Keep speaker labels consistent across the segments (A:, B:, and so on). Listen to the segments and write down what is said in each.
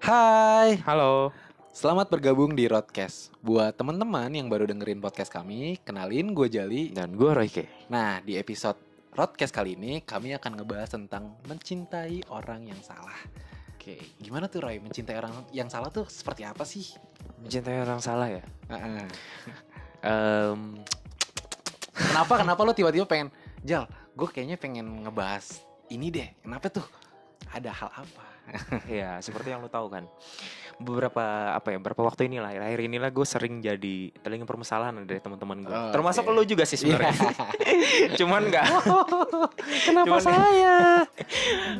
A: Hai,
B: Halo,
A: selamat bergabung di Rodcast. Buat teman-teman yang baru dengerin podcast kami, kenalin gue Jali.
B: dan gue Royke.
A: Nah, di episode Rodcast kali ini kami akan ngebahas tentang mencintai orang yang salah.
B: Oke.
A: Gimana tuh Roy, mencintai orang yang salah tuh seperti apa sih?
B: Mencintai orang salah ya?
A: Heeh.
B: Em,
A: Kenapa, kenapa lo tiba-tiba pengen, Jal, gue kayaknya pengen ngebahas ini deh. Kenapa tuh? Ada hal apa?
B: ya seperti yang lo tahu kan, beberapa apa ya, beberapa waktu inilah, akhir-akhir inilah gue sering jadi telinga permasalahan dari teman-teman gue.
A: Oh,
B: Termasuk
A: oke. Iya.
B: lo juga sih sebenarnya. Cuman nggak,
A: Kenapa
B: Cuman-
A: saya?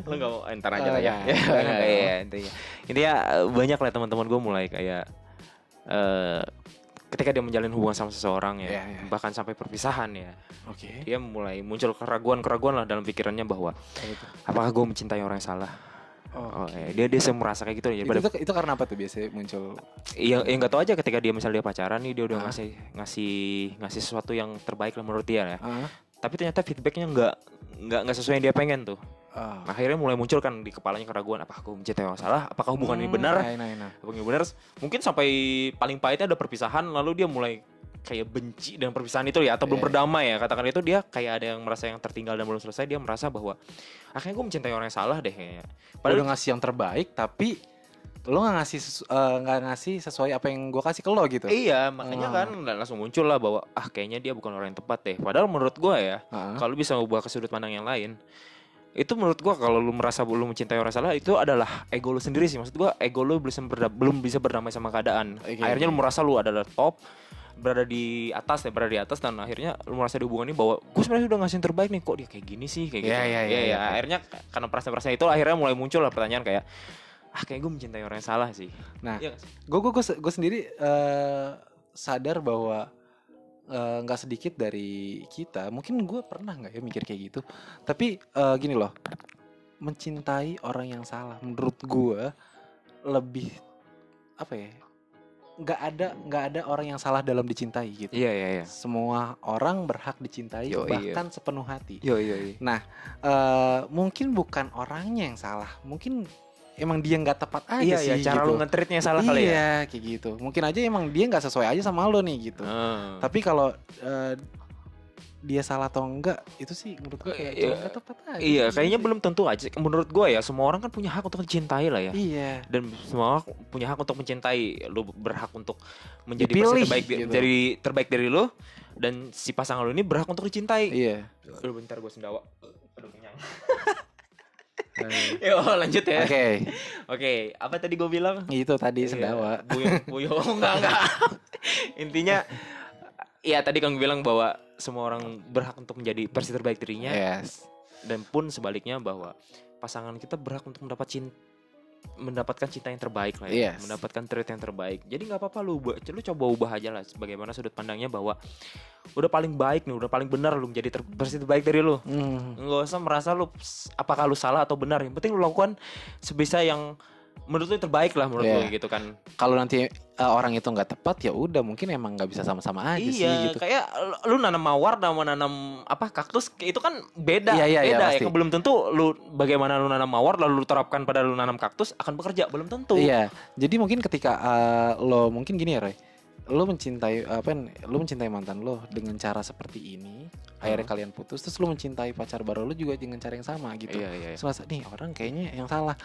B: lo nggak mau entar aja lah ya.
A: Oh, iya.
B: Iya, iya, intinya, intinya eh, banyak lah teman-teman gue mulai kayak. eh ketika dia menjalin hubungan sama seseorang ya,
A: Iya, iya.
B: bahkan sampai perpisahan ya,
A: Oke.
B: dia mulai muncul keraguan-keraguan lah dalam pikirannya bahwa apakah gue mencintai orang yang salah?
A: gitu.
B: Oh,
A: Oke.
B: iya. dia dia selalu merasa kayak gitu ya.
A: Itu, tuh- itu karena apa tuh biasanya muncul?
B: Yang yang nggak tahu aja ketika dia misalnya dia pacaran nih dia udah
A: Hah?
B: ngasih ngasih ngasih sesuatu yang terbaik lah menurut dia ya.
A: Ah,
B: Tapi ternyata feedbacknya nggak nggak nggak sesuai yang dia pengen tuh.
A: ah.
B: Nah, akhirnya mulai muncul kan di kepalanya keraguan apakah aku mencintai orang salah? Apakah hubungan Oh, ini
A: Hmm,
B: benar?
A: Nah, nah, nah.
B: Hubungan ini benar? Mungkin sampai paling pahitnya ada perpisahan lalu dia mulai kayak benci dengan perpisahan itu ya atau belum
A: Iya, iya.
B: berdamai ya katakan itu dia kayak ada yang merasa yang tertinggal dan belum selesai dia merasa bahwa akhirnya gue mencintai orang yang salah deh kayaknya.
A: Padahal
B: Padahal
A: udah ngasih yang terbaik tapi lo nggak ngasih sesu- eh, nggak ngasih sesuai apa yang gue kasih ke lo gitu.
B: Iya, makanya
A: Ah.
B: kan lang- langsung muncul lah bahwa ah kayaknya dia bukan orang yang tepat deh. Padahal menurut gua ya,
A: Ah.
B: kalau bisa ubah ke sudut pandang yang lain, itu menurut gua kalau lu merasa lu mencintai orang salah itu adalah ego lu sendiri sih. Maksud gua ego lu belum berda- belum bisa berdamai sama keadaan.
A: Oke,
B: akhirnya
A: oke.
B: lu merasa lu adalah top berada di atas ya berada di atas dan akhirnya lu merasa di hubungan ini bahwa gue sebenarnya udah ngasih yang terbaik nih kok dia kayak gini sih kayak gitu
A: Iya, iya, iya, iya.
B: akhirnya karena perasaan-perasaan itu akhirnya mulai muncul lah pertanyaan kayak ah kayak gue mencintai orang yang salah sih
A: Nah,
B: Iya nggak sih?
A: Gue gue gue sendiri eh, sadar bahwa eh, nggak sedikit dari kita. Mungkin gue pernah nggak ya mikir kayak gitu. Tapi eh, gini loh, mencintai orang yang salah menurut gue lebih apa ya? Nggak ada nggak ada orang yang salah dalam dicintai gitu.
B: iya iya iya
A: Semua orang berhak dicintai
B: Yo, iya.
A: bahkan sepenuh hati.
B: Yo, yo,
A: Eh,
B: yo.
A: mungkin bukan orangnya yang salah, mungkin emang dia nggak tepat aja
B: Iya
A: sih.
B: ya, cara
A: gitu.
B: lu ngetritnya salah kali ya.
A: Iya, kayak gitu. Mungkin aja emang dia nggak sesuai aja sama lo nih gitu.
B: Tapi
A: Tapi kalau eh, dia salah atau enggak itu sih menurut gue kayak
B: Iya.
A: cuma nggak tepat aja. gitu.
B: iya,
A: sih.
B: kayaknya belum tentu aja. Menurut gua ya, semua orang kan punya hak untuk mencintai lah ya.
A: Iya.
B: Dan semua orang punya hak untuk mencintai. Lu berhak untuk menjadi
A: Dipilih,
B: versi terbaik
A: gitu.
B: dari terbaik dari lu dan si pasangan lu ini berhak untuk dicintai.
A: Iya.
B: Lu bentar gua sendawa. Aduh kenyang.
A: Eh,
B: Yo, lanjut
A: Oke,
B: ya. Oke, apa tadi gua bilang?
A: itu tadi
B: Iya,
A: sendawa.
B: Buyung, buyung, enggak, enggak. Intinya Iya tadi kamu bilang bahwa semua orang berhak untuk menjadi versi terbaik dirinya
A: Yes.
B: dan pun sebaliknya bahwa pasangan kita berhak untuk mendapat cinta mendapatkan cinta yang terbaik lah ya,
A: Yes.
B: mendapatkan treat yang terbaik. Jadi nggak apa-apa lu ubah- lu coba ubah aja lah bagaimana sudut pandangnya bahwa udah paling baik nih, udah paling benar lu menjadi ter versi terbaik dari lu.
A: Hmm.
B: Nggak usah merasa lu ps- apakah lu salah atau benar. Yang penting lu lakukan sebisa yang menurut lu terbaik lah menurut
A: Yeah.
B: lu gitu kan.
A: Kalau nanti eh, orang itu nggak tepat ya udah mungkin emang nggak bisa sama-sama aja sih
B: iya,
A: gitu.
B: kayak lu- lu nanam mawar sama nanam apa kaktus itu kan beda,
A: Iya, iya, iya,
B: beda
A: pasti.
B: ya. Belum tentu lu bagaimana lu nanam mawar lalu lu terapkan pada lu nanam kaktus akan bekerja, belum tentu.
A: Iya, jadi mungkin ketika eh, lo mungkin gini ya Roy, lo mencintai apa? Lo mencintai mantan lo dengan cara seperti ini, akhirnya
B: Hmm.
A: kalian putus, terus lo mencintai pacar baru lo juga dengan cara yang sama gitu.
B: Iya, iya, iya.
A: Terus merasa, nih orang kayaknya yang salah.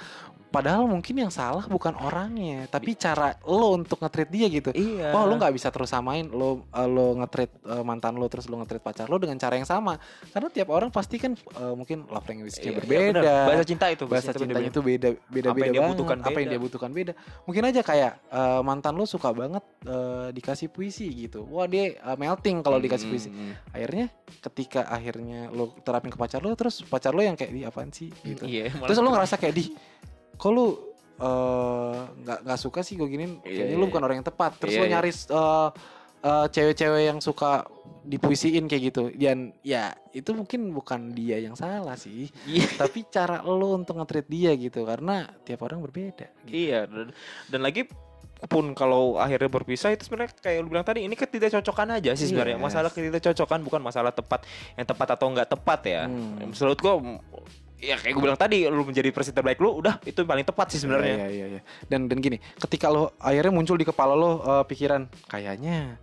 A: Padahal mungkin yang salah bukan orangnya, tapi cara lo untuk nge-treat dia gitu.
B: Iya.
A: Oh lo nggak bisa terus samain lo eh, lo nge-treat eh, mantan lo terus lo nge-treat pacar lo dengan cara yang sama, karena tiap orang pasti kan eh, mungkin love language-nya
B: Iya, iya,
A: berbeda
B: benar. bahasa cinta itu,
A: bahasa cintanya
B: beda-beda.
A: itu beda beda
B: Apa
A: beda
B: yang dia
A: banget
B: butuhkan
A: apa yang
B: beda.
A: dia butuhkan beda mungkin aja kayak eh, mantan lo suka banget eh, dikasih puisi gitu wah dia eh, melting kalau dikasih puisi
B: Hmm,
A: akhirnya ketika akhirnya lo terapin ke pacar lo terus pacar lo yang kayak di apaan sih gitu
B: gitu. Iya, malah-
A: terus lo ngerasa kayak di kok lo eh, nggak nggak suka sih gue giniin
B: Iya,
A: kayaknya
B: iya,
A: lo bukan orang yang tepat terus
B: Iya,
A: lo
B: iya.
A: nyaris eh, eh, cewek-cewek yang suka dipuisiin kayak gitu dan ya itu mungkin bukan dia yang salah sih
B: Iya.
A: tapi cara lo untuk nge-treat dia gitu karena tiap orang berbeda gitu.
B: Iya, dan, dan lagi pun kalau akhirnya berpisah itu sebenarnya kayak lu bilang tadi ini ketidakcocokan aja sih sebenarnya.
A: Yes.
B: Masalah ketidakcocokan bukan masalah tepat yang tepat atau nggak tepat ya.
A: Hmm.
B: Menurut gua ya kayak gue bilang tadi lu menjadi presiden terbaik lu udah itu yang paling tepat sih sebenarnya
A: Iya, iya, iya. Dan dan gini, ketika lo akhirnya muncul di kepala lo eh, pikiran kayaknya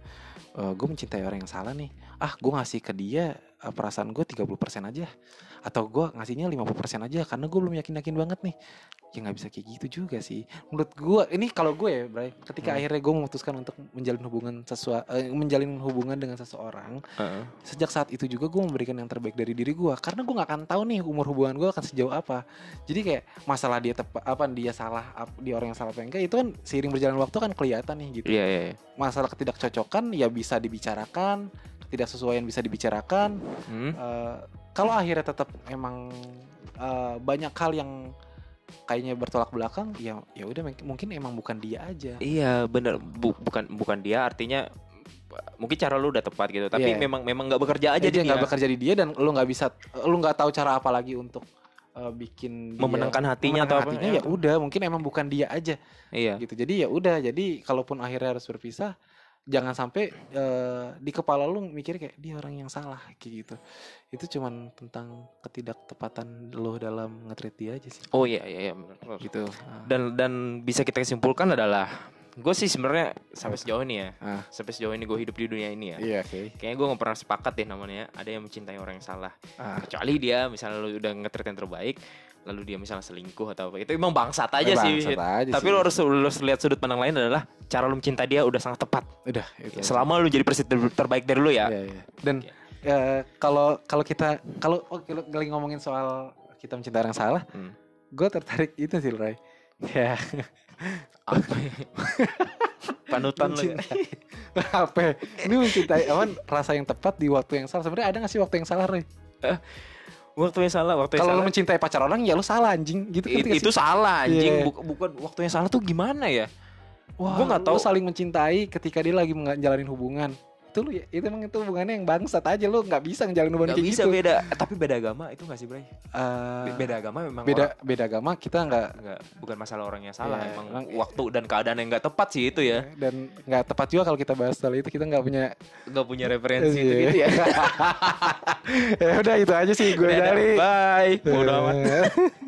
A: gue mencintai orang yang salah nih. Ah, gue ngasih ke dia eh, perasaan gue 30% aja atau gue ngasihnya 50% aja karena gue belum yakin-yakin banget nih. Ya nggak bisa kayak gitu juga sih. Menurut gue ini kalau gue ya, Bray, ketika
B: Hmm.
A: akhirnya gue memutuskan untuk menjalin hubungan sesuai menjalin hubungan dengan seseorang,
B: Heeh.
A: sejak saat itu juga gue memberikan yang terbaik dari diri gue karena gue nggak akan tahu nih umur hubungan gue akan sejauh apa jadi kayak masalah dia tepat apa dia salah ap- dia orang yang salah apa enggak itu kan seiring berjalan waktu kan kelihatan nih gitu
B: iya iya iya.
A: masalah ketidakcocokan ya bisa dibicarakan ketidaksesuaian bisa dibicarakan
B: Hmm.
A: Eh, kalau akhirnya tetap emang eh, banyak hal yang kayaknya bertolak belakang ya ya udah mungkin- mungkin emang bukan dia aja
B: Iya benar Bu- bukan bukan dia artinya b- mungkin cara lu udah tepat gitu
A: Iya.
B: tapi memang memang Iya, nggak bekerja aja
A: aja dia
B: Eh, dia
A: nggak bekerja di dia dan lu nggak bisa lu nggak tahu cara apa lagi untuk eh, bikin dia-
B: memenangkan hatinya
A: Memenangkan
B: atau apa
A: hatinya ya udah mungkin emang bukan dia aja
B: iya
A: gitu jadi ya udah jadi kalaupun akhirnya harus berpisah jangan sampai eh, di kepala lu mikir kayak dia orang yang salah kayak gitu itu cuman tentang ketidaktepatan lo dalam ngetrit dia aja sih
B: oh iya iya, iya benar
A: gitu
B: dan dan bisa kita simpulkan adalah gue sih sebenarnya sampai sejauh ini ya
A: Ah.
B: sampai sejauh ini gue hidup di dunia ini ya
A: iya oke
B: kayaknya gue nggak pernah sepakat deh namanya ada yang mencintai orang yang salah kecuali dia misalnya lu udah ngetrit yang terbaik lalu dia misalnya selingkuh atau apa itu emang Iya, bangsat aja sih tapi lu harus lu harus lihat sudut pandang lain adalah cara lu mencinta dia udah sangat tepat
A: udah itu
B: Ya, selama lu jadi presiden ter- terbaik dari lu ya.
A: Iya, iya. Dan eh, kalau kalau kita kalau oh, kalau lagi ngomongin soal kita mencintai orang salah,
B: Hmm.
A: gue tertarik itu sih, Ray. Ya,
B: Apa ya? Panutan lu ya.
A: mencintai. Apa? Ini mencintai aman rasa yang tepat di waktu yang salah. Sebenarnya ada nggak sih waktu yang salah, Ray?
B: Waktunya salah, waktunya
A: Kalau lu
B: salah.
A: mencintai pacar orang ya lu salah anjing gitu
B: It-
A: nggak sih?
B: itu salah anjing,
A: Iya.
B: Buk- bukan waktunya salah tuh gimana ya?
A: Wah,
B: gua nggak
A: lu
B: tahu.
A: saling mencintai ketika dia lagi menjalani hubungan. Itu lu ya, itu emang itu hubungannya yang bangsat aja lu nggak bisa ngejalanin hubungan
B: Gak
A: kayak
B: bisa
A: gitu.
B: beda, Eh, tapi beda agama itu gak sih, Bray?
A: Eh,
B: Be- Beda agama memang
A: beda
B: orang-
A: beda agama kita nggak
B: nggak- bukan masalah orangnya salah,
A: Iya,
B: emang
A: emang-
B: waktu dan keadaan yang gak tepat sih itu ya.
A: dan nggak tepat juga kalau kita bahas soal itu kita nggak punya
B: Gak punya referensi
A: Iya.
B: gitu, gitu ya.
A: ya udah itu aja sih gue
B: Dadah,
A: dari Iya. Eh.
B: Bye. Bodo amat.